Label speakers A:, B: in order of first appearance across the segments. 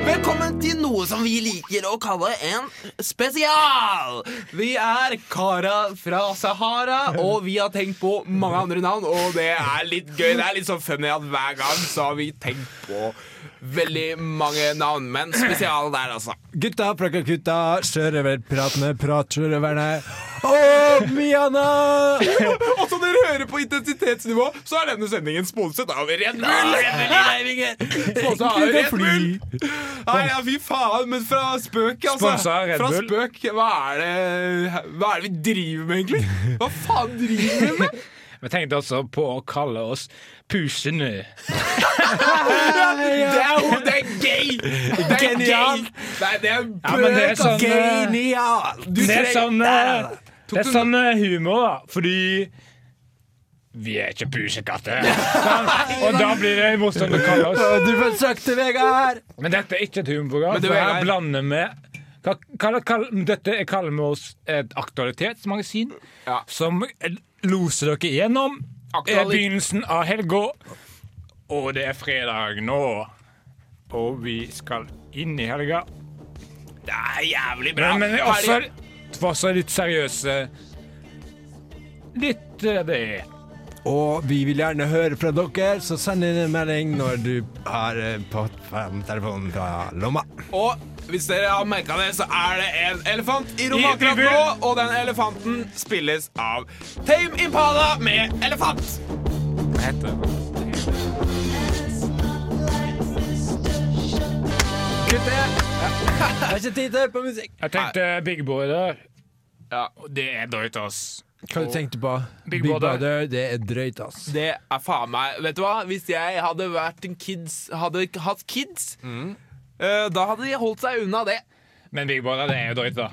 A: Velkommen til noe som vi liker å kalle en spesial!
B: Vi er kara fra Sahara, og vi har tenkt på mange andre navn. Og det er litt gøy. Det er litt sånn funny at hver gang så har vi tenkt på veldig mange navn. Men spesialen der, altså.
C: Gutta fra Calcutta, sjørøverpratene, pratsjørøverne og Miana!
B: Og som dere hører på intensitetsnivå, så er denne sendingen sponset av Red Bull! Sponset av
C: Ikke
B: Red
C: fly.
B: Bull! Nei, ja, fy faen, men fra spøk, altså.
D: Sponset av Red
B: fra
D: Bull.
B: spøk, hva er, det, hva er det vi driver med, egentlig? Hva faen driver vi med?
D: Vi tenkte også på å kalle oss Pusene.
B: Det er jo det er gøy! Det er
C: Genialt.
B: gøy. Nei, det er
D: Ja, men det er
B: brøk,
D: sånn, eh,
C: Genial!
B: Du
D: Det er
B: trenger-
D: sånn, eh,
B: Tok
D: det er
B: du-
D: sånn eh, humor, da. Fordi vi er ikke pusekatter. Sant? Og da blir det morsomt å kalle oss.
C: Du får sagt det, Vegard!
D: Men dette er ikke et humorprogram.
B: Men du,
D: For her
B: Vegard-
D: blander vi hva, kall- kall- Dette er- kaller vi oss et aktualitetsmagasin
B: Ja.
D: som loser dere gjennom eh,
B: Aktuali-
D: begynnelsen av helga. Og det er fredag nå, og vi skal inn i helga.
B: Det er jævlig bra.
D: Men, men vi er
B: Har de-
D: også, også litt seriøse. Litt eh, det
C: Og vi vil gjerne høre fra dere, så send inn en melding når du har eh, på fem telefonen fra lomma.
B: Og hvis dere har merka det, så er det en elefant i rommet
D: I- i
B: akkurat nå.
D: bur.
B: Og den elefanten spilles av Tame Impala med elefant.
D: Hva heter det?
C: Jeg har ikke tid til å høre på musikk.
D: Jeg tenkte Big Brother.
B: Ja.
D: Og Det er drøyt, ass.
C: Hva du tenkte du på?
D: Big Brother.
C: det er drøyt, ass.
B: Det er faen meg Vet du hva? Hvis jeg hadde vært en kids Hadde ikke hatt kids, eh, da hadde de holdt seg unna det.
D: Men Big Brother, det er jo drøyt, da.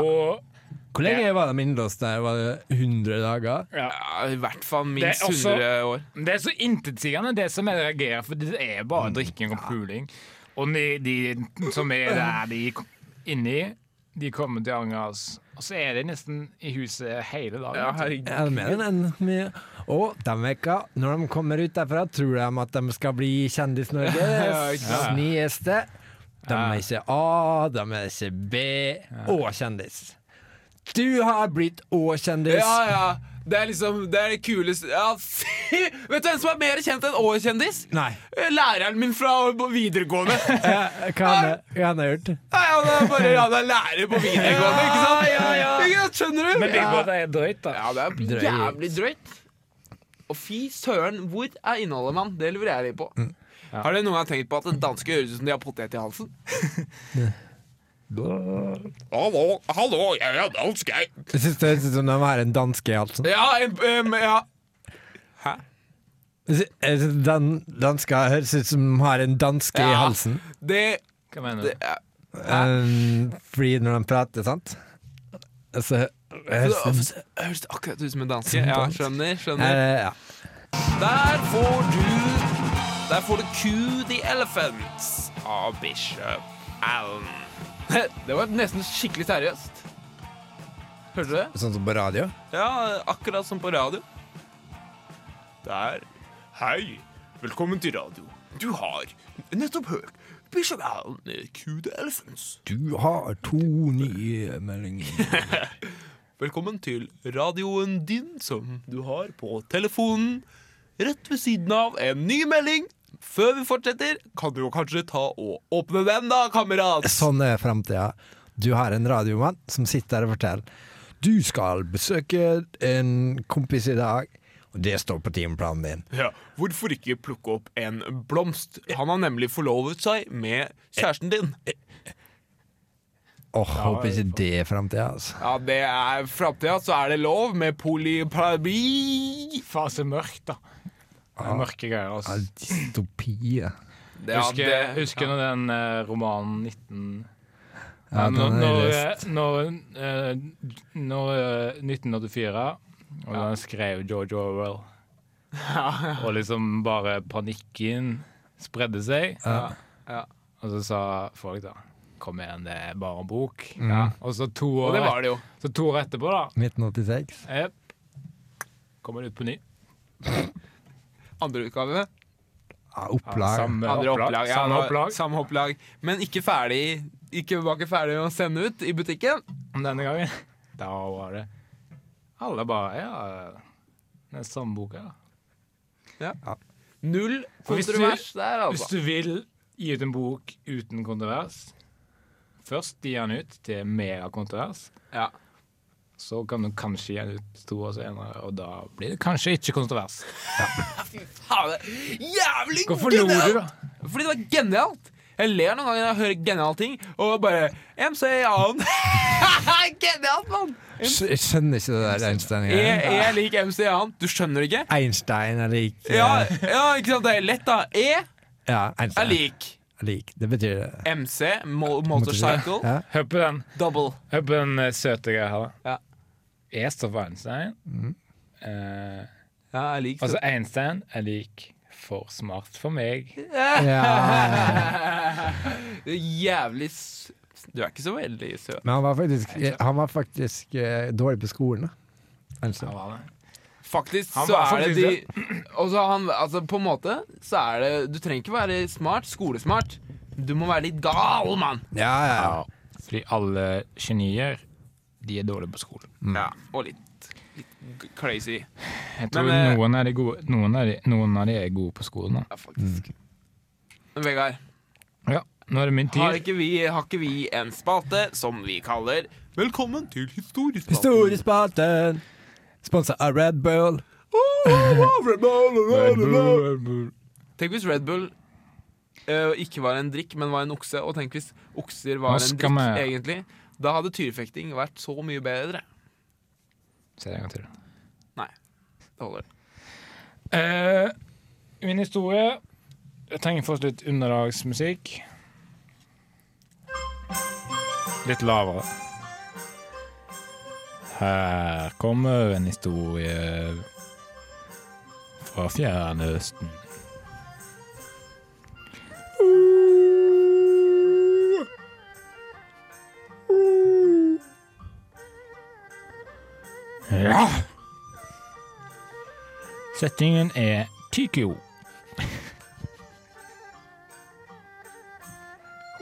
D: Og
C: Hvor lenge var de innlåst der? Var det 100 dager?
D: ja.
B: Ja, I hvert fall
D: Det
B: minst
D: er også-
B: 100 år.
D: Det er så intetsigende, det som jeg reagerer for det er bare
B: Mm.
D: drikking og puling. Og de, de som er
B: Mm.
D: der de kom- inni, de kommer til å angre, ass. Og så er de nesten i huset hele dagen.
B: Ja,
D: vet du.
B: herregud.
C: Ja, de er jo den mye. Og de vekka, når de kommer ut derfra, tror de at de skal bli Kjendis-Norge. Snieste. De er ikke A, de er ikke B, og kjendis. Du har blitt og kjendis.
B: Ja, ja. Det er liksom Det er det kuleste ja, fy. Vet du hvem som er mer kjent enn Å-kjendis?
C: Nei.
B: Læreren min fra videregående.
C: Eh, Hva han, hva han har gjort?
B: Nei, han er bare han er lærer på videregående, ikke sant?
C: Ja, ja, ja.
B: Ikke sant? Skjønner du?
D: Men Big Brother er drøyt, da.
B: Ja, det er
C: Drøyt.
B: jævlig drøyt. Og fy søren, hvor er innholdet, mann? Det lurer jeg litt på.
C: Mm.
B: Har dere noen gang tenkt på at en danske høres ut som de har potet i halsen? Hallo, hallo, jeg er dansk, jeg.
C: Jeg syns det høres ut som de har en danske i halsen.
B: Ja, en, em, ja.
C: Jeg sy- jeg syns Dan, dansker høres ut som de har en danske i
B: Ja.
C: halsen.
B: Det,
D: Hva mener
B: det
D: du?
B: er,
C: Um, fordi når de prater, sant Så høres
B: det høres akkurat ut som en danske. Ja, skjønner, skjønner.
C: Eh, ja.
B: Der får du Der får du Q the Elephants av Bishop Allen. Det var nesten skikkelig seriøst. Hørte du det?
C: Sånn som på radio?
B: Ja, akkurat som på radio. Der. Hei, velkommen til radio. Du har nettopp hørt Bishop Allen med Q the Elephants.
C: Du har to nye meldinger.
B: Velkommen til radioen din som du har på telefonen. Rett ved siden av en ny melding. Før vi fortsetter, kan du jo kanskje ta og åpne den, da, kamerat.
C: Sånn er framtida. Du har en radiomann som sitter der og forteller. Du skal besøke en kompis i dag, og det står på timeplanen din.
B: Ja, Hvorfor ikke plukke opp en blomst? Han har nemlig forlovet seg med kjæresten din.
C: Åh, Håper ikke det er framtida, altså.
B: Ja, det er framtida, så er det lov med polyparabi.
D: Faen, så mørkt, da. Det er mørke greier, altså. ass.
C: Ja, Dystopi. ja.
D: Husker, husker når den eh, romanen 19...
C: Ja,
D: når,
C: den har
D: når,
C: jeg
D: eh, når, eh, når, eh, 1984 Og den skrev George Orwell Og liksom bare panikken Spredde seg
B: ja.
D: Og så sa folk da Kom igjen, det er bare en bok.
C: Mm.
D: Ja. Og så to
B: Og
D: år,
B: det var det jo.
D: så to år etterpå, da,
C: 1986.
D: yep. kommer det ut på ny.
B: Andre utgave.
C: Ja,
D: Ja,
C: opplag.
D: samme
B: Andre
D: opplag.
B: opplag. ja,
D: Samme opplag.
B: Samme opplag. Men ikke ferdig ikke, var ikke ferdig å sende ut i butikken.
D: Denne gangen. Da var det Alle bare Ja, det er samme boka. da.
B: Null
D: For hvis du-
B: kontrovers der,
D: Hvis
B: altså.
D: du vil gi ut en bok uten kontrovers Først gi den ut til megakontrovers.
B: Ja.
D: Så kan du kanskje gi den ut to år senere, og da blir det kanskje ikke kontrovers.
B: Faen, det er Jævlig
D: Hvorfor lo du,
B: genialt!
D: da?
B: Fordi det var genialt. Jeg ler noen ganger når jeg hører geniale ting, og bare MC Jan. genialt, mann! E,
C: Sk- Jeg skjønner ikke det der
B: Jeg,
C: Einstein-greia.
B: jeg liker MC Jan. Du skjønner det ikke?
C: Einstein er lik eh,
B: Ja, ja, ikke sant? Det er lett, da. E
C: ja,
B: er
C: Einstein
B: lik
C: er lik. Det betyr det.
B: MC, mo motorcycle,
C: Ja.
D: Hør på den.
B: double.
D: Hør på den eh, søte greia her.
B: Ja.
D: Er Stoff Einstein. Eh,
B: Ja, er lik.
D: altså, Einstein er lik for smart for meg.
C: Ja.
B: Du er Jævlig s- Du er ikke så veldig søt.
C: Men han var faktisk, han var faktisk eh, dårlig på skolen, da. Altså. Einstein.
D: Han var det.
B: Faktisk
D: Han
B: så
D: var
B: er det
D: faktisk
B: de Og så han Altså, på en måte så er det Du trenger ikke være smart, skolesmart. Du må være litt gal, mann.
C: Ja, ja.
D: Fordi alle genier, de er dårlige på skolen.
B: Ja, og litt, litt g- crazy.
D: Jeg tror
B: Men, eh,
D: noen, er de gode, noen, er de, noen av de er gode på skolen. Da.
B: Ja, faktisk. Men Vegard,
D: Ja, nå er det min
B: har
D: tid.
B: ikke, vi, har ikke vi en spalte som vi kaller Velkommen til historiespalten?
C: Historiespalten! Sponsa av Red Bull.
B: Tenk hvis Red Bull eh, ikke var en drikk, men var en okse. Og tenk hvis okser var en
D: Nå skal
B: drikk,
D: vi-
B: egentlig. Da hadde tyrefekting vært så mye bedre.
D: Se det en gang til.
B: Nei, det holder.
D: Eh, min historie Jeg trenger først litt underlagsmusikk. Litt lavere. Her kommer en historie fra Fjernøsten. Ja! Settingen er Tykyo.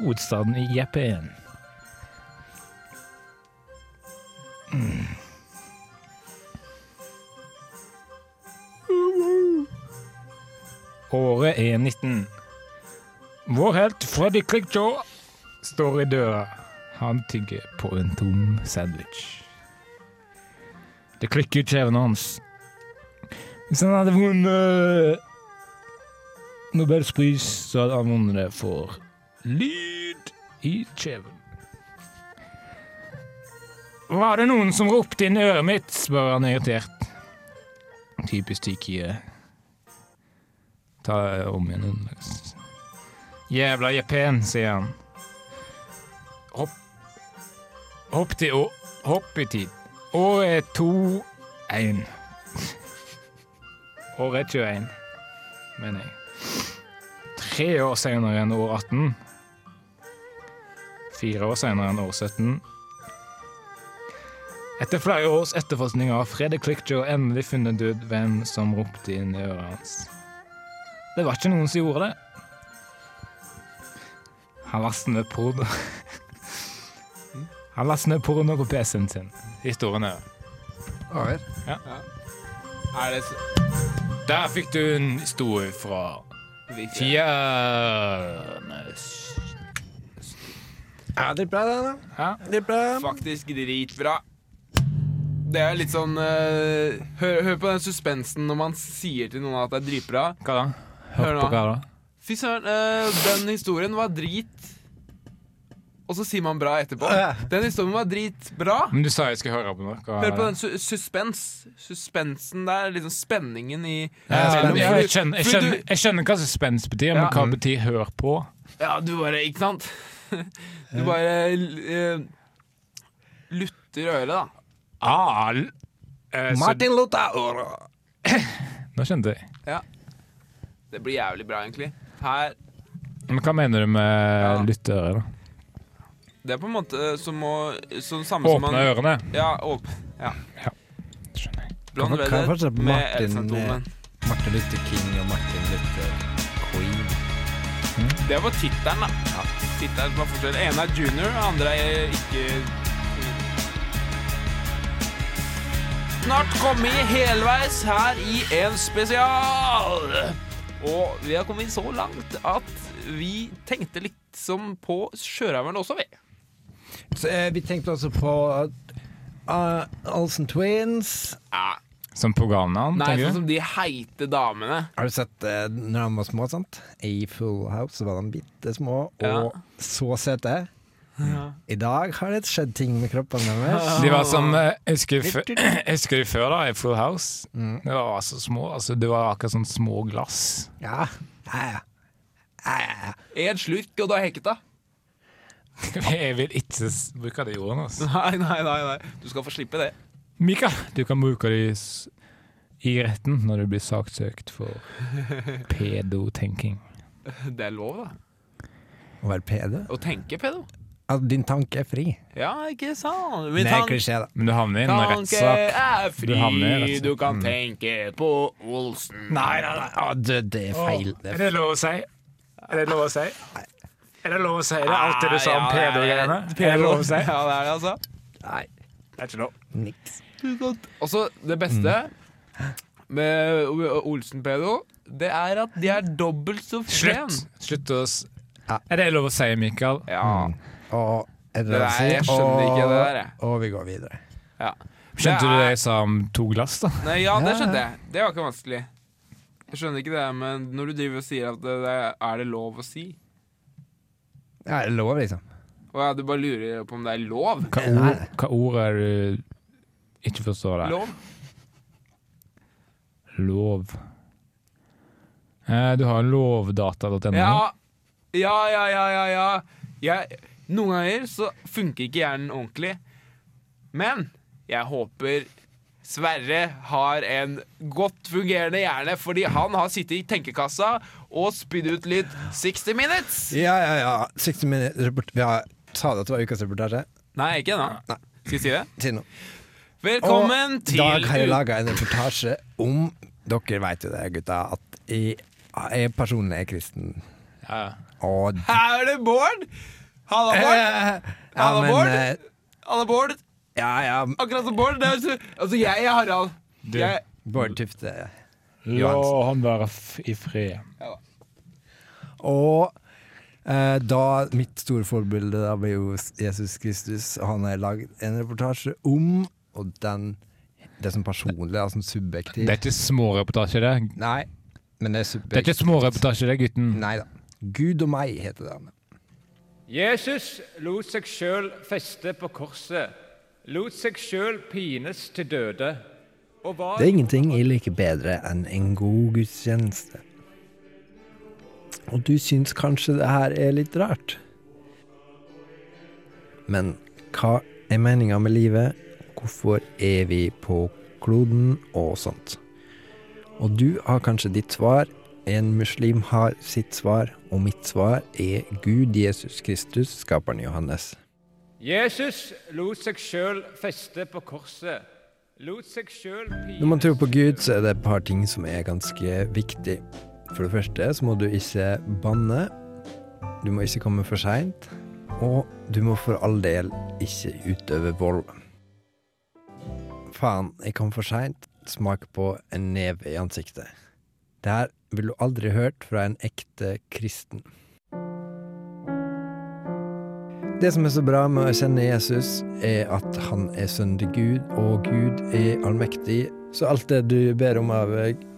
D: Hovedstaden i Japan. Mm. Året er 19. Vår helt Freddy Clickjaw står i døra. Han tygger på en tom sandwich. Det klikker i kjevene hans. Hvis han hadde vunnet Nobels pris, så hadde han vunnet det for lyd i kjeven. Var det noen som ropte inn i øret mitt? spør han irritert. Typisk Tikie. Ta om igjen underlags. Jævla jepen, sier han. Hopp Hopp til å... Hopp i tid. Året er to én. Året er 21, mener jeg. Tre år senere enn år 18. Fire år senere enn år 17. Etter flere års etterforskning har Freddy Clickjaw endelig funnet ut hvem som ropte inn i øret hans. Det var ikke noen som gjorde det. Han lastet ned porno. Han lastet ned porno på PC-en sin. Historien er
C: Over.
B: Er det så
D: Der fikk du en historie fra
B: vi-
D: Fjernøs.
C: Ja, det er bra, det, da.
D: Ja.
C: Det er bra.
B: Faktisk dritbra. Det er litt sånn eh, hør, hør på den suspensen når man sier til noen at det er dritbra.
D: Hva da?
B: Hør
D: Hør
B: nå.
D: på hva da?
B: Fy søren, eh, den historien var drit. Og så sier man bra etterpå. Den historien var dritbra.
D: Men du sa jeg skulle høre på noe. Hva-
B: Hør på den su suspens. Suspensen der, liksom spenningen i
D: Ja,
C: spenning.
D: ja, jeg, skjønner, jeg, skjønner, jeg skjønner hva suspens betyr, men
B: Ja.
D: hva betyr 'hør på'?
B: Ja, du bare, ikke sant? Du bare eh, lutter øret, da.
D: Ah, l- eh, så,
C: Martin Luther.
D: nå skjønte jeg.
B: Det blir jævlig bra, egentlig. Her
D: Men hva mener du med lytteøre, da?
B: Det er på en måte som å Sånn samme som
D: Åpne
B: man
D: ørene.
B: Ja, åpne Ja.
D: Skjønner jeg.
B: Blond
C: Kan- kan jeg fortsette
B: Velvet
C: på
B: med
C: Martin,
B: Elfendomen.
C: Martin Luther King og Martin Luther Queen.
B: Det var tittelen, da. Tittelen var forskjell. En er junior, andre er ikke Snart kommet helveis her i en spesial. Og vi har kommet så langt at vi tenkte litt som på sjørøveren også, vi.
C: Så, eh, vi tenkte også på eh, uh, Olsen Twins.
D: Som programnavn,
B: Nei, sånn
D: tenker du?
B: som de heite damene.
C: Har du sett eh, når de var små, sant? I Full House så var de bitte små og
B: Ja.
C: så søte. I dag har det skjedd ting med kroppen deres.
D: De var som eh, Jeg husker, fø- jeg husker de før, da, i Full House. De var så små. Altså, det var akkurat sånn små glass.
C: Ja. Ja, ja.
B: En slurk, og du har hekta.
D: Jeg vil ikke s- bruke de ordene. Altså.
B: Nei, nei, nei, nei. Du skal få slippe det.
D: Mikael, du kan bruke de s- i retten når du blir saksøkt for pedotenking.
B: Det er lov, da.
C: Å være pedo?
B: Å tenke pedo.
C: At din tanke er fri.
B: Ja, ikke sant?
C: Det
B: Min
C: er
B: tanke
C: klisjé, da.
D: Men du havner i en
B: Tanke er
D: rettssak. Du havner i
B: fri,
D: rettssak. Mm.
B: du kan tenke på Olsen.
D: Nei, nei, nei.
C: Å, det, det er feil. Det er feil.
D: det lov å si? Er det lov å si? Er det lov å si? Det er
B: Ja, ja, ja. Ja, det er det, altså.
C: Nei,
D: Det er ikke lov.
C: niks.
B: Og så det beste
D: Mm.
B: med O- Olsen-pedo, det er at de er dobbelt så fren.
D: Slutt! Slutt å s-
C: Ja.
D: Er det lov å si, Mikael?
B: Ja.
D: Mm.
C: Og er
B: Det
C: det det
B: der-
C: å si?
B: jeg skjønner ikke det der, jeg.
C: Og, og vi går videre.
B: ja.
D: Skjønte du det
B: er-
D: jeg sa om to glass, da?
B: Nei, ja, det skjønte jeg. Det var ikke vanskelig. Jeg skjønner ikke det, men når du driver og sier at det, det er det lov å si
C: Ja, det er lov, liksom.
B: Og ja, du bare lurer på om det er lov?
D: Hva ord, hva ord er det du ikke forstår der?
B: Lov?
D: Lov. Eh, Du har lovdata.no.
B: Ja,
C: Mhm.
B: ja, ja, ja, ja, ja. Jeg, Noen ganger så funker ikke hjernen ordentlig Men jeg håper Sverre har en godt fungerende hjerne Fordi han har sittet i tenkekassa Og spydd ut litt 60 minutes
C: Ja, ja, ja. 60 minutter report... Ja, sa du at det var ukas reportasje?
B: Nei, ikke nå
C: Nei.
B: Skal jeg si det?
C: Si noe.
B: Velkommen
C: og
B: til
C: I dag har jeg
B: ut-
C: laga en reportasje om Dere vet jo det, gutta, at jeg, jeg personlig er kristen.
D: Ja.
C: Og
B: Her er det Bård Halla Bård
C: Ja,
B: Halla, Bård.
C: eh,
B: Halla Bård
C: Ja, ja.
B: Akkurat som Bård det er, så- Altså jeg er Harald
D: Du.
B: jeg,
C: Bård Tufte.
D: La han være f- i fred.
C: Og eh, da Mitt store forbilde da ble jo Jesus Kristus. og Han har lagd en reportasje om og den, det som personlig, altså subjektiv
D: Det er ikke småreportasje, det.
C: Nei, men det er
D: Det er ikke
C: subjektivt.
D: småreportasje, det, gutten.
C: Nei da. Gud og meg heter det.
E: Jesus lot seg sjøl feste på korset, lot seg sjøl pines til døde, og var
C: Det er ingenting jeg liker bedre enn en god gudstjeneste. Og du syns kanskje det her er litt rart. Men hva er meninga med livet? Hvorfor er vi på kloden og sånt? Og du har kanskje ditt svar, en muslim har sitt svar, og mitt svar er Gud Jesus Kristus, skaperen Johannes.
E: Jesus lot seg sjøl feste på korset, lot seg sjøl
C: Når man
E: pines
C: tror på Gud, så er det et par ting som er ganske viktig. For det første så må du ikke banne. Du må ikke komme for seint. Og du må for all del ikke utøve vold. Faen, jeg kom for seint. Smak på en neve i ansiktet. Det her ville du aldri hørt fra en ekte kristen. Det som er så bra med å kjenne Jesus, er at han er sønnen til Gud, og Gud er allmektig. Så alt det du ber om av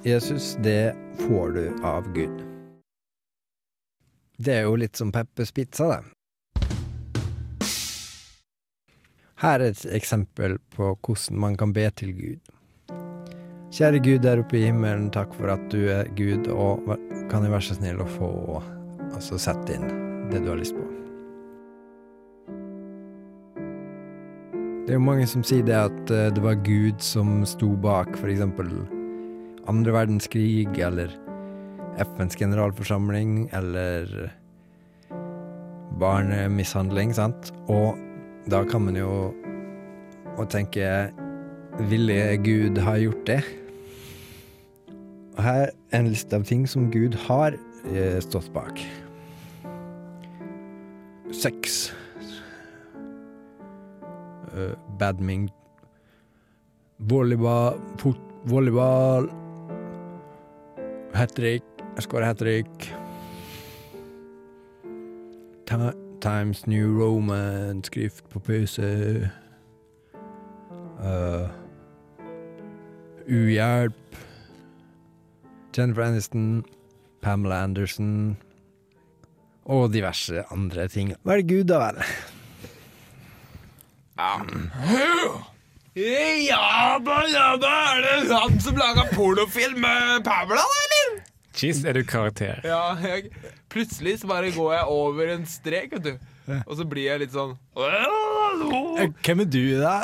C: Jesus, det får du av Gud. Det er jo litt som Peppers pizza, det. Her er et eksempel på hvordan man kan be til Gud. Kjære Gud der oppe i himmelen, takk for at du er Gud, og vær- kan jeg være så snill å få og så sette inn det du har lyst på. Det er jo mange som sier det at eh, det var Gud som sto bak f.eks. andre verdenskrig, eller FNs generalforsamling, eller barnemishandling, sant? Og da kan man jo og tenke Ville Gud ha gjort det? Og her er en liste av ting som Gud har eh, stått bak. Sex. Eh, Badming. Volleyball. Fot volleyball. Hat trick. Jeg skårer hat trick. Ti- Times New Roman, skrift på pause. Eh, uhjelp. Jennifer Aniston, Pamela Anderson og diverse andre ting. Hva er det Gud da vel?
B: Ja da, ja da, er det han som laga pornofilm med Pamela, da, eller?
D: Cheese, er du karakter?
B: Ja, jeg, plutselig så bare går jeg over en strek, vet du. Og så blir jeg litt sånn Hallo!
C: Hvem er du da?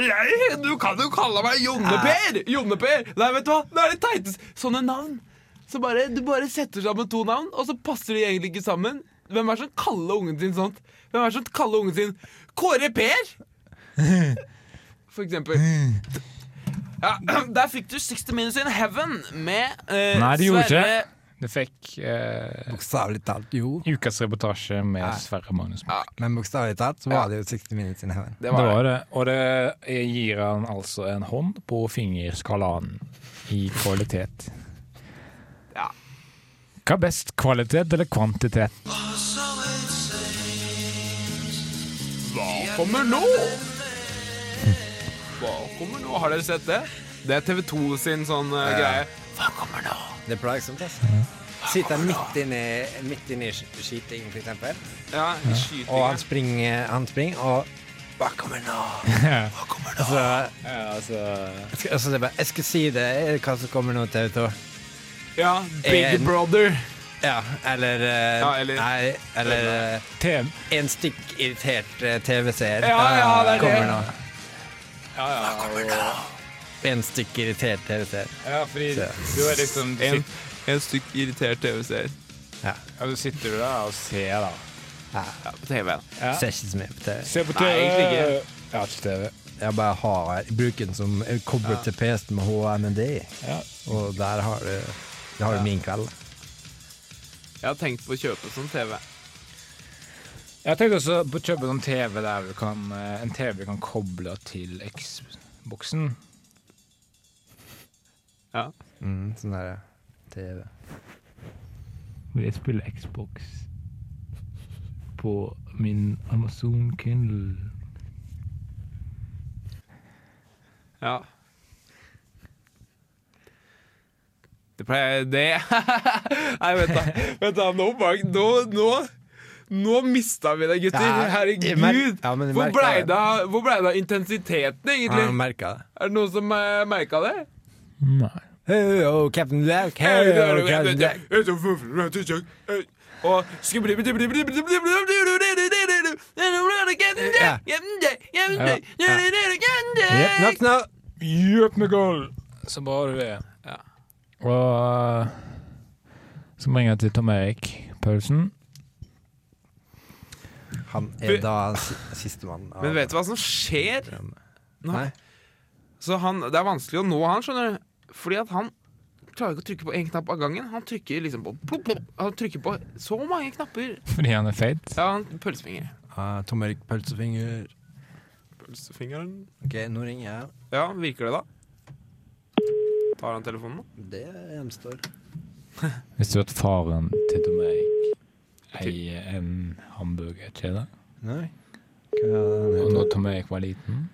B: Jeg, du kan jo kalle meg Jonne-Per! Jonne-Per! Nei, vet du hva? Det er det teiteste Sånne navn. Så bare, du bare setter sammen to navn, og så passer de egentlig ikke sammen. Hvem er det som kaller ungen sin sånt? Hvem er det som kaller ungen sin Kåre Per? For eksempel. Ja, der fikk du 60 Minutes in Heaven med eh,
D: Nei, det gjorde
B: Sverre
D: ikke. Du fikk eh,
C: Bokstavelig talt, jo.
D: ukas reportasje med Sverre Magnus.
C: Men bokstavelig talt så var det jo 60 minutes in heaven.
D: Det var det. Og det eh, gir han altså en hånd på fingerskalaen i kvalitet.
B: Ja.
D: Hva er best, kvalitet eller kvantitet?
B: kommer nå? Hva kommer nå? Har dere sett det? Det er TV 2 sin sånn eh, greie. Hva kommer nå?
C: Det er plagsomt, altså. Sitter midt inne midt inne i sk- skyting, for eksempel.
B: Ja, i skytingen.
C: Og han springer, han springer, og Hva kommer nå?
D: Hva
C: kommer nå? Altså, jeg, skal, altså, det er bare, jeg skal si det, eh, hva som kommer nå, TV 2.
B: Ja, Big
C: En-
B: Brother.
C: Ja, eller, eh,
B: Ja, eller-
C: Nei, eller eh,
D: Tem.
C: En stykk irritert eh, TV-seer
B: Ja, ja, det er
C: kommer
B: det.
C: nå.
D: Ja, ja,
C: En stykk irritert TV-seer.
D: ja, fordi du er liksom du
B: En,
D: sitter,
B: en stykk irritert TV-seer.
D: ja, du sitter jo der og ser, da.
B: Ja, på TV-en.
D: Ja.
C: Ser ikke så mye på TV.
D: Se på TV.
B: Nei, egentlig ikke.
D: Ja, ikke TV.
C: Jeg bare har bruker den som jeg kobler til PC-en med HMND,
D: Ja.
C: og der har du, der har du min kveld.
B: Jeg har tenkt på å kjøpe sånn TV.
D: Jeg tenkte også på å kjøpe sånn TV der du kan, eh, en TV du kan koble til Xboxen.
B: Ja.
C: Mm, sånn der TV.
D: Jeg spiller Xbox på min Amazon Kindle.
B: ja. Det pleier Det Nei, vent, da. Vent da, Nå, bak- nå, nå, nå mista vi det, gutter.
C: Ja, jeg mer-
B: Herregud.
C: ja, men jeg
B: Hvor
C: merker
B: blei
C: det.
B: det av hvor blei det av intensiteten,
C: Har du
B: egentlig?
C: merka det?
B: Er det noen som eh, merka det?
D: Nei.
C: Hei, oh, Captain Black, hei, oh, Captain Black.
B: Og
C: Ja. Yep, knock, knock.
D: Gjøp med goal! Så bra du det.
B: Ja.
D: Og eh, så må jeg ringe til Tom Erik Paulsen.
C: Han er da si- sistemann. av-
B: Men vet du hva som skjer?
C: Nei.
B: Så han, det er vanskelig å nå han, skjønner du. Fordi at han klarer ikke å trykke på én knapp av gangen. Han trykker liksom på plopp, plopp. Han trykker på så mange knapper.
D: Fordi han er feit.
B: Ja, han pølsefinger.
C: Ah, Tom Erik Pølsefinger.
B: Pølsefingeren
C: Ok, nå ringer jeg.
B: Ja, virker det, da? Tar han telefonen, da?
C: Det gjenstår.
D: Visste du at faren til Tom Erik eier en hamburgerkjede?
C: Nei. Hva er det han
D: Og
C: heter?
D: når Tom Erik var liten,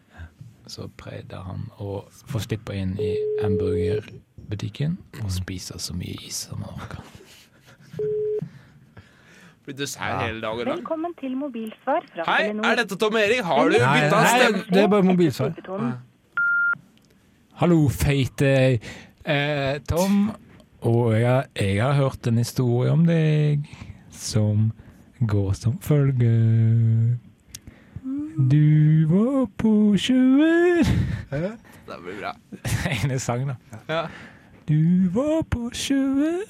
D: så pleide han å få slippe inn i hamburgerbutikken og spise så mye is som han orka.
B: Blir du sær hele dagen lang?
F: Velkommen til mobilsvar fra
B: Hei,
F: Telenor.
B: er dette Tom Erik? Har du
C: Nei,
B: bytta
C: nei,
B: stemme?
C: det er bare mobilsvar.
D: Hallo, feite eh, Tom. Og jeg, har- jeg har hørt en historie om deg som går som følger. Du var på sjøen
B: Det blir bra.
D: Ene sang, da.
B: Ja.
D: Du var på sjøen,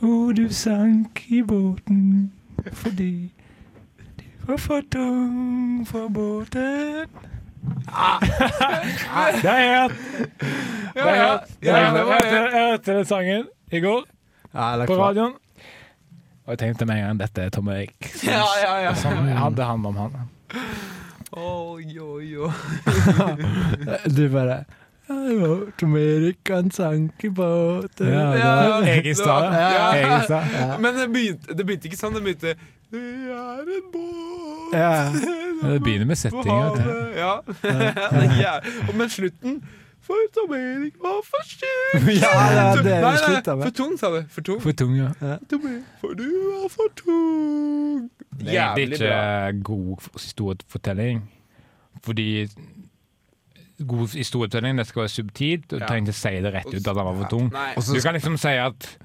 D: og du sank i båten fordi Forfattung forboden
B: Ah.
D: Det har jeg hørt. Det har jeg hørt. Det har jeg hørt. Jeg hørte- Jeg hørte den sangen i går
C: Ja, eller
D: på
C: hva?
D: radioen. Og jeg tenkte med en gang dette er Tom Erik.
B: Ja, ja, ja.
D: Som hadde han om han.
B: Oi, oi, oi.
C: Du bare Hallo, Tom Erik han sank i båten.
D: Ja, det var jeg i stad.
B: Ja, ja.
D: Jeg i stad.
B: Men det begynte, det begynte ikke sånn. Det begynte Det er en båt
C: Ja.
D: Det begynner med
B: på
D: settinga. vet du.
B: havet. Ja. Det er jæv- Og Men slutten For Tom Erik var for sjuk!
C: Ja, det er det vi
B: Nei, nei,
C: slutta med.
B: For tung, sa du. For tung.
D: For tung, ja.
B: Tom Erik, For du var for tung.
D: Det er egentlig ikke god historiefortelling. Fordi god historiefortelling det skal være subtilt, og du
B: Ja.
D: trenger ikke si det rett ut at han var for tung.
B: Nei.
D: Du kan liksom si at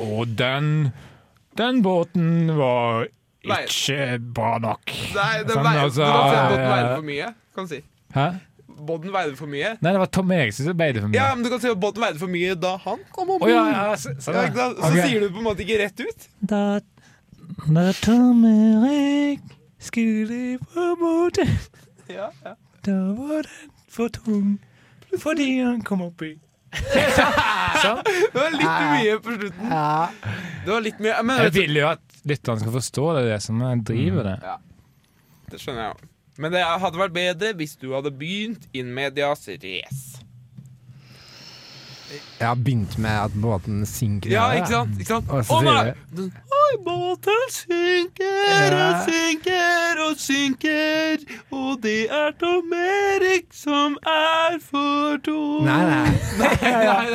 D: Å, den Den båten var
B: Nei.
D: ikke bra nok.
B: Nei, det
D: Sånn,
B: veier,
D: altså,
B: du kan si at båten
D: ja, ja.
B: veide for mye. Kan du si.
D: Hæ?
B: Båten veide for mye.
D: Nei, det var Tom Eriksen som beide for mye.
B: Ja, men du kan si at båten veide for mye da han kom om
D: Å,
B: bord.
D: ja, ja, så, sånn,
B: Ja,
D: ja.
B: ikke sant? Så
D: Ok.
B: sier du det på en måte ikke rett ut.
D: Da, da Tom Erik skulle på båten,
B: Ja, ja.
D: da var den for tung fordi han kom oppi. sånn.
B: Det var litt mye på slutten. Det var litt mye Men
D: Jeg
B: vet du,
D: vil jo at lytterne skal forstå det, det som jeg driver det.
B: det skjønner jeg jo. Men det hadde vært bedre hvis du hadde begynt in medias race.
C: Jeg har begynt med at båten synker. i
B: Ja,
C: havet.
B: ikke sant? Ikke sant?
C: Og så
B: Å nei!
C: sier
B: Den- Oi, båten synker og
C: Ja.
B: synker og synker, og det er Tom Erik som er for tung.
C: Nei, nei.
B: nei,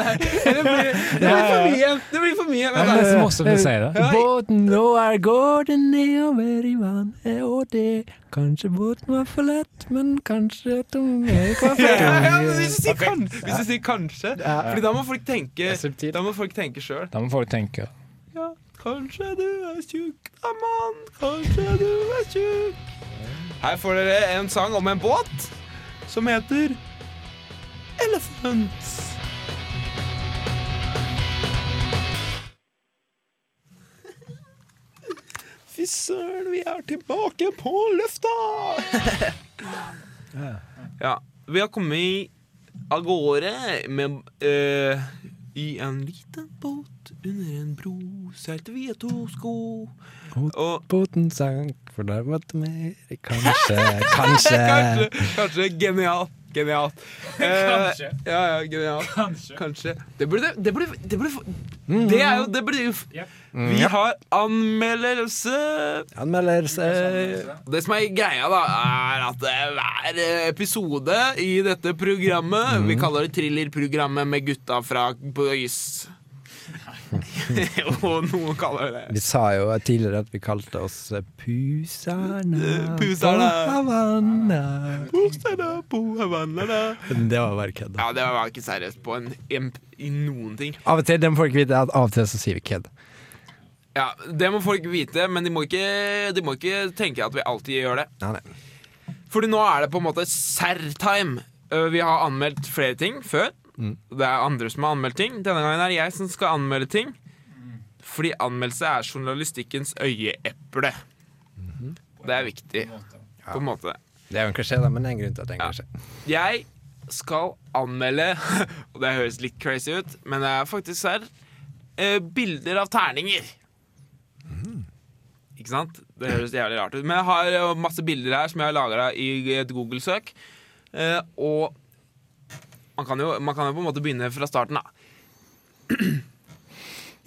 B: nei. Det blir, det blir for mye. Det blir for mye.
D: Det
B: Vent,
D: er
B: da.
D: nesten morsomt å si det.
C: Båten nå er gården nedover i vannet, og det Kanskje båten var for lett, men kanskje Tom Erik var for
B: Ja, ja, men
C: tung.
B: hvis, du sier kan, hvis du sier kanskje Fordi da må folk tenke
C: er subtilt.
B: Da må folk tenke sjøl.
D: Da må folk tenke.
B: Ja, kanskje du er tjukk, da, mann. Kanskje du er tjukk. Her får dere en sang om en båt som heter Elephant. Fy søren, vi er tilbake på løfta! ja, vi har kommet av gårde med eh, I en liten båt under en bro seilte vi et to sko. Og
C: Båten sank, for der var Tom Erik. Kanskje, kanskje
B: Kanskje, kanskje genialt. Genialt. Eh, ja, ja, genialt. Kanskje. Det burde Det burde, det burde Det er jo Det burde jo Vi har anmeldelse.
C: Anmelder seg.
B: Det som er greia, da, er at hver episode i dette programmet Vi kaller det thrillerprogrammet med gutta fra Boys. Og noen kaller det
C: Vi sa jo tidligere at vi kalte oss Puserne
B: Puserne.
C: på Havanna.
B: Postene på Havanna.
C: Men det var bare kødd.
B: Ja, det var ikke seriøst på en, en, i noen ting.
C: Av og til de får ikke vite at av og til så sier vi kødd.
B: Ja, Det må folk vite, men de må ikke, de må ikke tenke at vi alltid gjør det.
C: Nei, nei.
B: Fordi nå er det på en måte serr-time. Uh, Vi har anmeldt flere ting før. Det er andre som har anmeldt ting. Denne gangen er det jeg som skal anmelde ting. Fordi anmeldelse er journalistikkens øyeeple. Det er viktig. På en måte.
C: Det er jo en klisjé, da, men det er en grunn til at det er en klisjé.
B: Jeg skal anmelde Og det høres litt crazy ut, men det er faktisk her eh, bilder av terninger. Ikke sant? Det høres jævlig rart ut. Men jeg har eh, masse bilder her som jeg har lagra i et Google-søk. Eh, og man kan, jo, man kan jo på en måte begynne fra starten, da.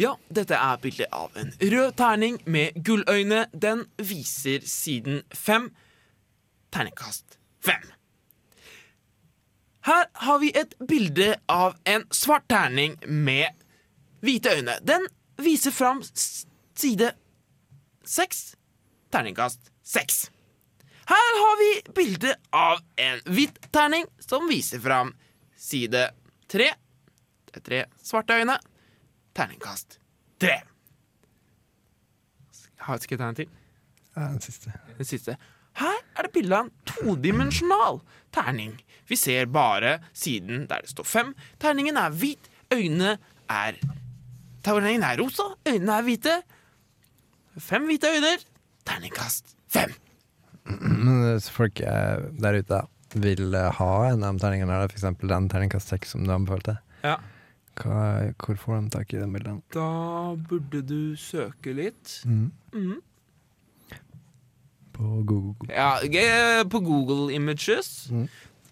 B: Ja, dette er bildet av en rød terning med gulløyne. Den viser siden fem. Terningkast fem. Her har vi et bilde av en svart terning med hvite øyne. Den viser fram s- side seks, terningkast seks. Her har vi bilde av en hvit terning som viser fram side tre. Det er tre svarte øyne. Terningkast tre. Har- Skal jeg ta en til?
C: Ja, den siste.
B: den siste. Her er det bilde av en todimensjonal terning. Vi ser bare siden der det står fem. Terningen er hvit, øynene er Terningen er rosa, øynene er hvite. Fem hvite øyne. Terningkast fem.
C: Men hvis folk eh, der ute vil eh, ha en av de terningene her, f.eks. den terningkast seks som du anbefalte,
B: Ja.
C: hva, hvor får de tak i den bilden?
B: Da burde du søke litt.
C: På Google.
B: Ja, g- på Google Images.
C: Mm.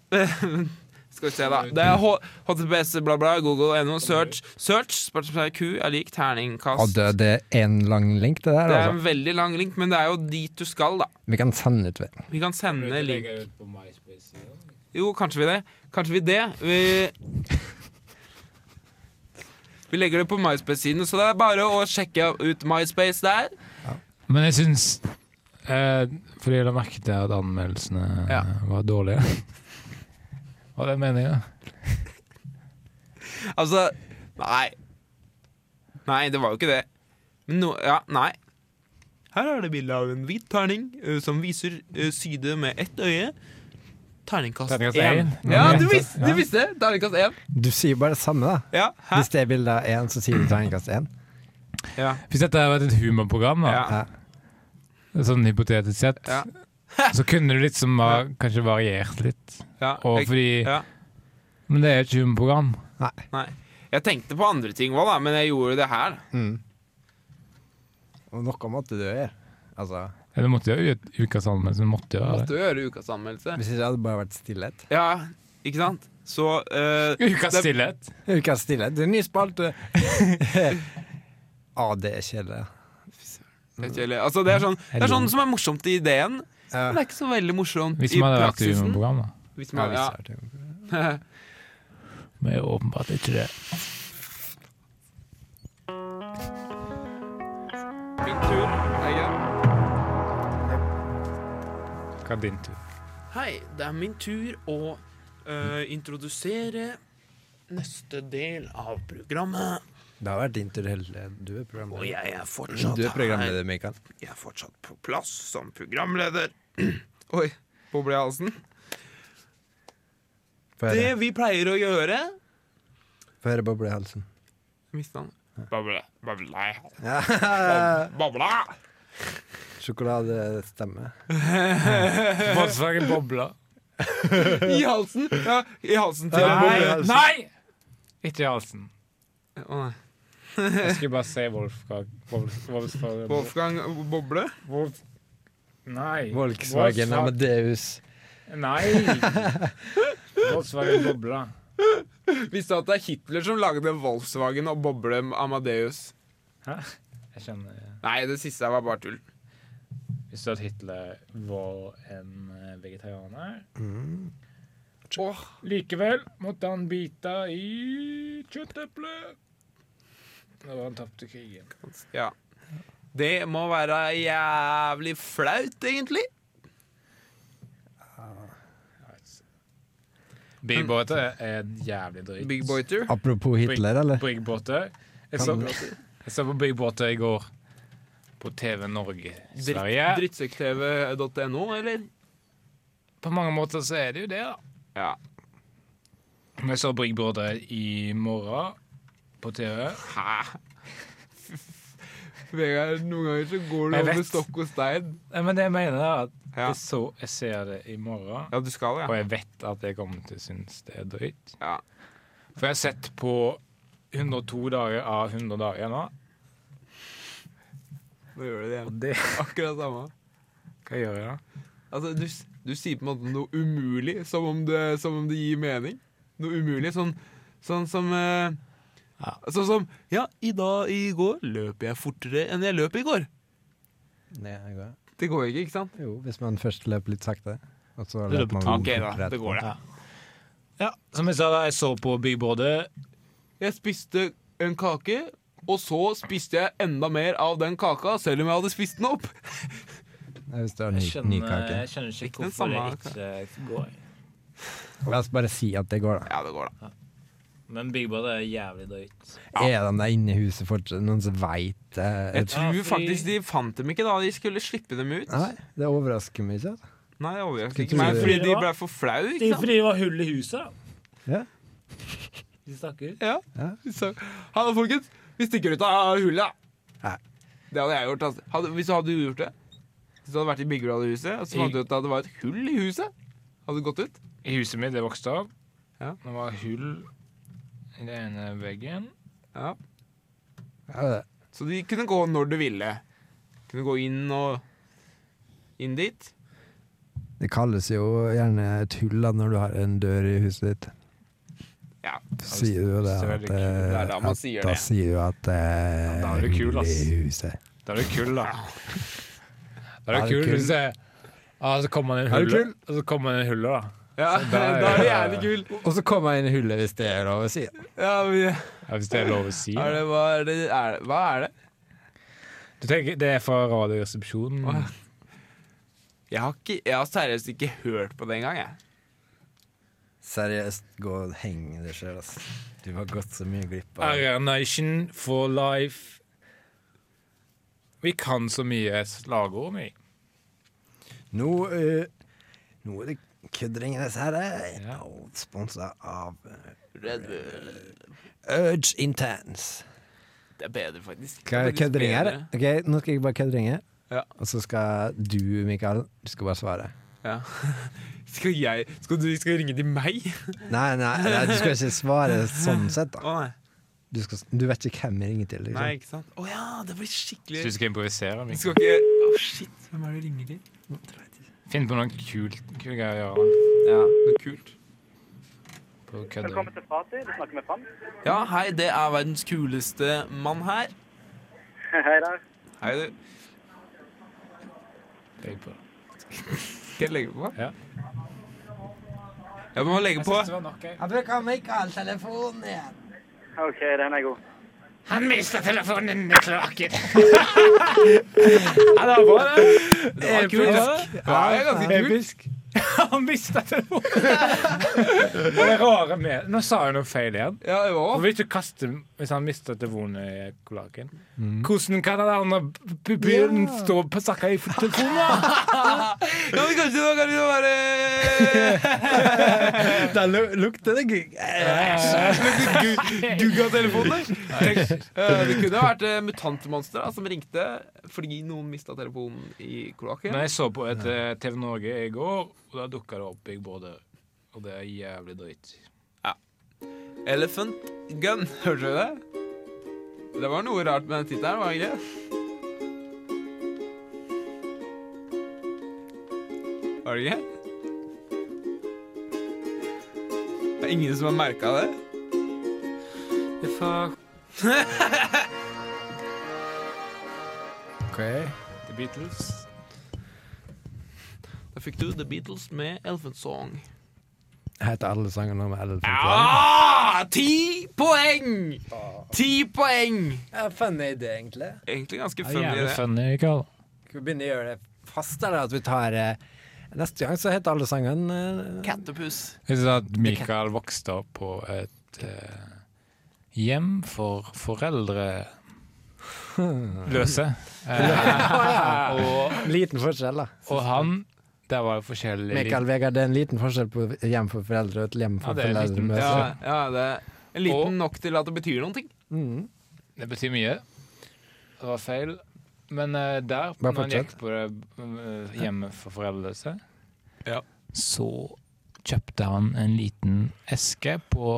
B: Skal vi se, da. Det er H- HTTPS, bla, bla, google.no, search. Search, spørsmålstegn Q, er lik terningkast.
C: Å, det, det er en lang link, det der,
B: Det er
C: altså.
B: en veldig lang link, men det er jo dit du skal, da.
C: Vi kan sende ut ved.
B: Vi kan sende link.
D: legge ut på MySpace-sida.
B: Jo, kanskje vi det. Kanskje vi det. Vi, vi legger det på MySpace-siden, så det er bare å sjekke ut MySpace der.
D: Men jeg syns eh, Fordi jeg la merke til at anmeldelsene
B: Ja.
D: var dårlige. Hva er det meninga?
B: Altså Nei. Nei, det var jo ikke det. Men no, ja, nei. Her er det bilde av en hvit terning eh, som viser uh, sydet med ett øye. Terningkast
D: Terningkast
B: én.
D: én.
B: Ja,
D: Ja.
B: du visste, du visste det! Terningkast én.
C: Du sier bare det samme, da.
B: Ja, hæ?
C: Hvis det er bilde av én, så sier du terningkast én.
B: Ja.
D: Hvis dette hadde vært et humorprogram, da,
B: Ja.
D: sånn hypotetisk sett,
B: Ja.
D: så kunne du liksom ha kanskje variert litt.
B: Ja.
D: Og
B: Jeg,
D: fordi
B: ja.
D: Men det er jo et humorprogram.
B: Nei. Jeg tenkte på andre ting òg, da, men jeg gjorde det her.
C: Og noe måtte du gjøre. Altså,
D: Eller måtte jo gjøre et ukas anmeldelse. men Måtte jo ha det.
B: Måtte jo gjøre ukas anmeldelse.
C: hvis ikke hadde det bare vært stillhet.
B: Ja, ikke sant? Så eh,
D: Ukas
B: det-
D: stillhet.
C: Ukas stillhet, det er en ny spalte. Å, det er kjedelig.
B: det er kjedelig. Altså, det, er sånn, det er sånn som er morsomt i ideen,
C: Ja.
B: men det er ikke så veldig morsomt
D: Hvis
B: i
D: man hadde vært et
B: praksisen.
D: humorprogram, da.
B: Hvis
C: Ja,
B: man, ja.
C: visst er det.
D: Men det er jo åpenbart ikke det.
B: Min tur. er det greit?
D: Hva er din tur?
B: Hei, det er min tur å eh, introdusere neste del av programmet.
C: Det har vært din tur hele Du er
B: Og
C: programleder.
B: jeg er fortsatt
C: Du er
B: her.
C: programleder, Mikael.
B: Jeg er fortsatt på plass som programleder. Oi, boble i halsen.
C: Få
B: Det
C: høre,
B: vi pleier å gjøre
C: Få høre boble i halsen.
B: Mista han. Bable. Bable.
C: Ja.
B: Bable.
C: Sjokoladestemme.
D: Volkswagen Bobla.
B: I halsen. Ja, i halsen til en boble.
D: Nei! Nei! Ikke i halsen.
B: Å, nei.
D: Jeg skulle bare se Wolfgang Wolf- Wolfswagen
B: Wolfgang Boble.
D: Wolf... Nei.
C: Volkswagen Amadeus.
D: Nei! Volkswagen Bobla.
B: Visste du at det er Hitler som lagde Volkswagen og Boble Amadeus?
D: Jeg skjønner
B: Nei, det siste her var bare tull.
D: Visste du at Hitler var en eh, vegetarianer?
C: Mm.
D: Og likevel måtte han bite i kjøtteplet når han tapte krigen.
B: Ja. Det må være jævlig flaut, egentlig.
D: Big Båter er en jævlig dritt.
B: Big Boiter.
C: Apropos Hitler, eller?
D: Big Båter. Jeg så, jeg så på Big Båter i går på TV Norge Sverige.
B: Drittsekktv.no, eller?
D: På mange måter så er det jo det, da.
B: Ja.
D: Men jeg så Big Brother i morgen på TV.
B: Hæ? Vegard, noen ganger så går du
D: Jeg
B: over
D: vet.
B: stokk og stein.
D: Nei, men det jeg mener er at
B: Ja.
D: jeg, så, jeg ser det i morgen,
B: Ja, du skal,
D: og
B: ja.
D: jeg vet at jeg kommer til å synes det er drøyt.
B: ja.
D: For jeg har sett på 102 dager av 100 dager nå.
B: Nå gjør du det igjen.
D: Det,
B: Akkurat samme.
D: hva gjør jeg da?
B: Altså, du, s- du sier på en måte noe umulig, som om det, som om det gir mening. Noe umulig, sånn, sånn som eh, Sånn som Ja, i dag, i går, løp jeg fortere enn jeg løp i går.
C: Nei, det går.
B: Det går ikke, ikke sant?
C: Jo, hvis man først løper litt sakte. Og så
D: Det løper
C: løper man
D: to-
B: Ok, da.
C: fortere
B: Det går, det.
D: Ja, som jeg sa da, jeg så på Big Brother.
B: Jeg spiste en kake, og så spiste jeg enda mer av den kaka, selv om jeg hadde spist den opp.
C: etterpå. Hvis du har ny,
D: Jeg
C: ny
D: skjønner,
C: kake.
D: jeg skjønner ikke
B: den
D: hvorfor det
B: samme
D: ikke går.
C: La oss bare si at det går, da.
B: Ja, det går, da.
D: Men Big Brother er jævlig drøyt.
C: Er de der inne i huset fortsatt? Noen som veit eh,
B: Jeg tror
D: Ja, fordi-
B: faktisk de fant dem ikke da de skulle slippe dem ut.
C: Nei, det overrasker meg ikke. altså.
B: Nei, det overrasker
C: Skulle
B: ikke
C: tro
B: meg,
C: det.
B: fordi de ble for flaue, ikke sant?
D: det var hull i huset.
C: Ja.
D: De stakk ut.
B: Ja.
C: Ja.
B: Så, hallo, folkens. Vi stikker ut av hullet.
C: Nei.
B: Det hadde jeg gjort. Altså. Hadde, hvis du hadde gjort det? Hvis du hadde vært i Byggeladhuset og så fant du ut at det var et hull i huset, hadde du gått ut?
D: I huset mitt det vokste opp.
B: Ja.
D: Det var hull i den ene veggen.
B: Ja.
C: Ja, det.
B: Så de kunne gå når du ville. Kunne gå inn og inn dit.
C: Det kalles jo gjerne et hull da, når du har en dør i huset ditt.
B: Ja.
C: Så sier du jo det.
D: Hvis det
B: det
C: At, eh,
D: er veldig kult,
B: er da man
C: at,
B: sier
C: da
B: det.
C: sier du at det
D: da er
C: er
D: du kul,
C: hull
D: ass.
C: i huset.
D: Da er det kull, da. Da
C: Er
D: er
C: det
D: det kull
C: kull?
D: hvis det Ja, så kommer man inn i
C: Er det
D: hullet, og så kommer man inn i hullet, da.
B: ja da
D: der-
B: er det jævlig kul.
C: Og så kommer jeg inn i hullet hvis det er lov å si.
B: Ja, vi,
D: Ja, hvis det er lov å si.
B: er det, hva, er det, er det, hva er det?
D: Du tenker, Det er fra Radioresepsjonen.
B: Jeg har, ikke, jeg har seriøst ikke hørt på det engang, jeg.
C: Seriøst, gå og heng deg sjøl, ass. Du har gått så mye glipp av
D: RR Nation for life. Vi kan så mye slagord, vi.
C: Nå, eh, nå er det køddringene disse her. eh,
D: Ja.
C: og Sponsa av eh,
B: Red Bull.
C: Urge Intense.
B: Det er bedre, faktisk.
C: Skal jeg
B: Faktisk
C: køddringe her?
B: bedre.
C: Ok, nå skal jeg bare køddringe.
B: Ja.
C: Og så skal du, Mikael, du skal bare svare.
B: Ja. Skal jeg Skal du skal ringe til meg?
C: Nei, nei, nei, du skal ikke svare sånn sett,
B: Å
C: da.
B: nei.
C: Du, skal, du vet ikke hvem jeg ringer til. Liksom.
B: Nei, ikke sant? Å ja, det blir skikkelig
D: Så du skal improvisere?
B: Du
D: Vi.
B: skal ikke Å shit, hvem er det du ringer til?
D: Finn på noe kult kult greier å gjøre.
B: Ja, noe kult.
D: På kødder.
F: Velkommen til Frati. Du snakker med Fram.
B: Ja, hei, det er verdens kuleste mann her.
F: Hei der.
B: Hei, du.
D: Legg på.
B: Skal jeg legge på?
D: Ja.
B: Jeg må legge på.
D: Det var nok, jeg.
C: Jeg bruker Mikael-telefonen igjen.
F: OK, den er god.
D: Han mista telefonen i kloakken!
B: Ja, det var det. Det var kult.
D: Episk.
B: Ja, det er ganske kult.
D: Episk. Han mista telefonen! Og det rare med Nå sa jeg noe feil igjen.
B: Ja, det
D: Og
B: var
D: vil ikke kaste hvis han mister telefonen i kloakken. Hvordan kan den andre b- bilen stå på sakka i telefonen? da?
B: Ja, men kanskje da kan vi bare
C: Da lu- lukter det gugg.
B: Gugga-telefonen der. Tenk, eh, Det kunne vært eh, mutantmonster da, som ringte fordi noen mista telefonen i kloakken.
D: Men jeg så på et eh, TV Norge i går, og da dukka det opp Big Brother. Og det er jævlig drøyt.
B: Elephant Gun, hørte du det? Det var noe rart med den tittelen, var det ikke? det? Var det ikke? Det er ingen som har merka det?
D: The Beatles.
B: Da fikk du The Beatles med Elephant Song.
C: Heter alle sangene med Ellen
B: Ja! Ah, Ti poeng! Ti poeng!
C: Funny idé, egentlig.
B: Egentlig ganske funny, det.
D: funny, Carl.
C: Skal vi begynne å gjøre det fast, eller at vi tar eh, Neste gang så heter alle sangene eh,
B: Kattepus.
D: Jeg synes at Michael vokste opp på et eh, hjem for foreldre løse. Eh, og,
C: Liten forskjell, da.
D: og han Der var jo forskjellig
C: Mikael Vegard, det er en liten forskjell på hjem for foreldre og et hjem
D: Ja,
C: for
D: det er en
C: foreldre.
D: liten-
C: med-
B: Ja, ja, det er altså. en
D: Og-
B: liten nok til at det betyr noen ting.
C: Mm.
D: Det betyr mye. Det var feil. Men eh, der,
C: Bare
D: når han gikk
C: fortsett.
D: på det eh, hjemmet for foreldreløse,
B: Ja.
D: så kjøpte han en liten eske på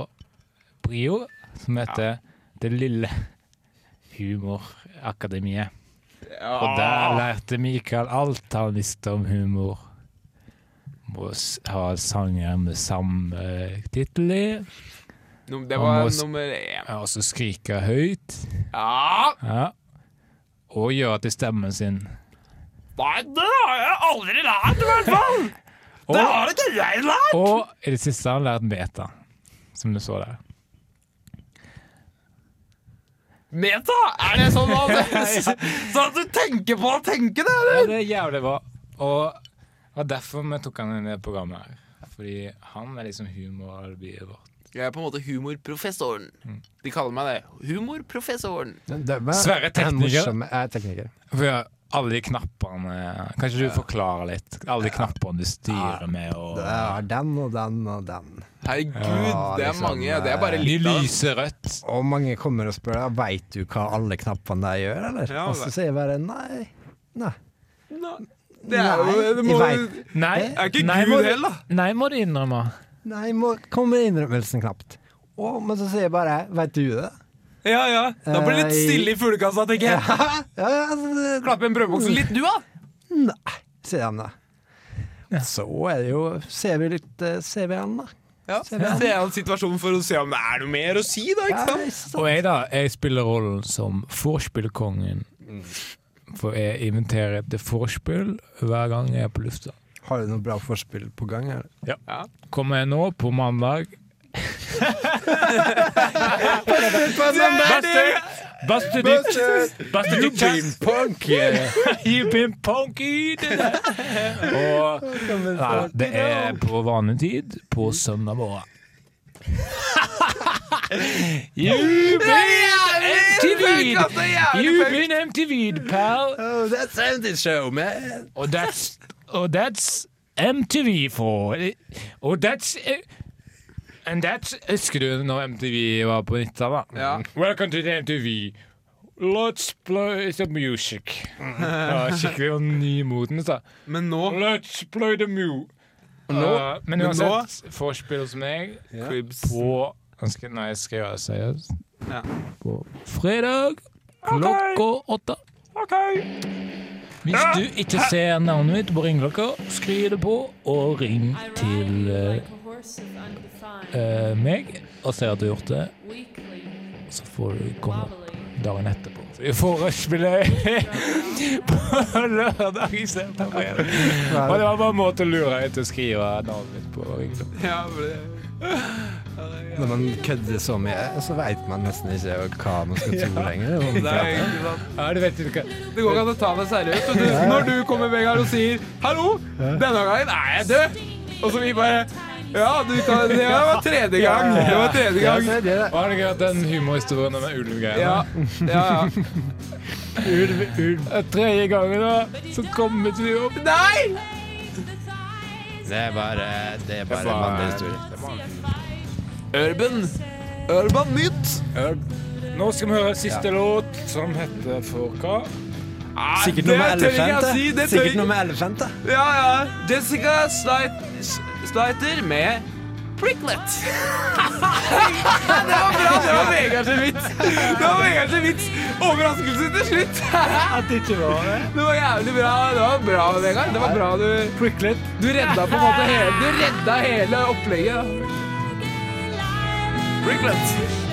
D: Brio som heter Det lille humorakademiet. Og der lærte Mikael alt han visste om humor. Må s- ha sanger med samme tittel i,
B: Num- Det
D: Han
B: var
D: må s-
B: nummer én.
D: og så skrike høyt.
B: Ja,
D: Ja. Og gjøre til stemmen sin.
B: nei, det har jeg aldri lært, i hvert fall!
D: Og,
B: har ikke jeg lært!
D: og i det siste har han lært beta, som du så der.
B: Meta? Er det sånn at, sånn at du tenker på å tenke det, eller?
D: Ja, det er jævlig bra. Og det var derfor vi tok han inn i det programmet her. Fordi han er liksom humoralibiet vårt.
B: Jeg er på en måte humorprofessoren. De kaller meg det. Humorprofessoren.
C: Dømme
D: Sverre
C: er
D: tekniker.
C: morsomme- er tekniker.
D: For ja, alle de knappene Kanskje du forklarer litt? Alle de knappene du styrer med, og
C: Det er den og den og den.
B: Herregud,
C: Ja,
B: det er
C: liksom, eh,
B: mange. Det er bare
D: De
B: litt av
D: lyser rødt.
C: Og mange kommer og spør ja, Veit du hva alle knappene der gjør, eller?
B: Ja,
C: og så
B: det-
C: sier jeg bare nei. Nei.
B: Nei. Det er jo det
C: Nei, Eh?
B: må,
C: jeg vet.
G: Nei,
B: Er ikke
G: nei,
B: Gud
G: må du-
B: heller?
G: Nei, må du innrømme.
C: Nei, må, kommer innrømmelsen knapt. Å, men så sier jeg bare Veit du det?
B: Ja, ja. Da blir det litt
C: Eh,
B: stille i fuglekassa, tenker jeg.
C: Ja, ja, altså,
B: Klapp igjen brødboksen litt, du, da.
C: Nei, sier han da. Så er det jo Ser vi litt eh, Ser vi han, da?
B: Ja. Så er jo situasjonen for å se om det er noe mer å si, da. ikke sant?
C: Ja,
D: Og jeg, da, jeg spiller rollen som vorspielkongen. For jeg inventerer et vorspiel hver gang jeg er på lufta.
C: Har du noe bra forspill på gang? her?
D: Kommer jeg nå på mandag
B: sånn,
D: Beste ditt Beste ditt You've been punky Og nei, det er på vanlig tid På søndag morgen You've been MTV You've been MTV pal
C: Oh, that's empty show, man!
D: Og that's, og that's MTV for Og that's And that's Husker du når MTV var på 90-tallet?
B: Ja.
D: Welcome to the MTV. Let's play the music.
B: Mm.
D: Ja, skikkelig og nymoten. Så.
B: Men nå
D: Let's play the mu... Uh, men
B: men nå-
D: uansett, vorspiel hos meg
B: Cribs.
D: på ganske- Nei, jeg skal gjøre det seriøst.
B: Ja.
D: På fredag klokka åtte. Hvis du ikke ser navnet mitt på ringeklokka, skriv det på og ring til eh, eh, meg og si at du har gjort det. Så får du komme dagen etterpå. Så vi får Rushbilly på lørdag istedenfor. Og det var bare en måte å lure deg til å skrive navnet mitt på ringeklokka.
B: ja, for det-
C: Når man kødder så mye, så veit man nesten ikke hva man skal tro lenger. om
B: det
C: det.
B: er ikke sant.
D: Ja, du vet ikke hva
B: Det går ikke an å ta deg seriøst. vet du. Når du kommer Vegard, og sier 'hallo, denne gangen er jeg død', og så vi bare ja, du kan, det var tredje gang. Det var tredje
C: Ja,
B: gang.
C: så er det det.
D: Har du ikke hørt den humorhistorien om den ulvegreia?
B: Ja, ja, ja.
D: Ulv, ulv. Tredje gangen, da, så kommer vi opp.
B: Nei!
C: Det er bare Det er bare en vandrehistorie.
B: Urban. Urban nytt.
D: Nå skal vi høre siste låt, som heter For hva?
B: Nei,
C: Sikkert noe med
B: Ah, det tør ikke jeg
C: elefant, da.
B: si, det tør
C: Sikkert
B: ikke-
C: noe med elefant, da.
B: Ja, ja. Jessica Sleit- S- Slaiter med Pricklet. det var bra. Det var Vegard sin vits. Det var Vegard sin vits. Overraskelse til slutt. At det ikke var det. Det var jævlig bra. Det var bra, Vegard. Det var bra du Pricklet. Du redda på en måte hele, du redda hele opplegget. da. Pricklet.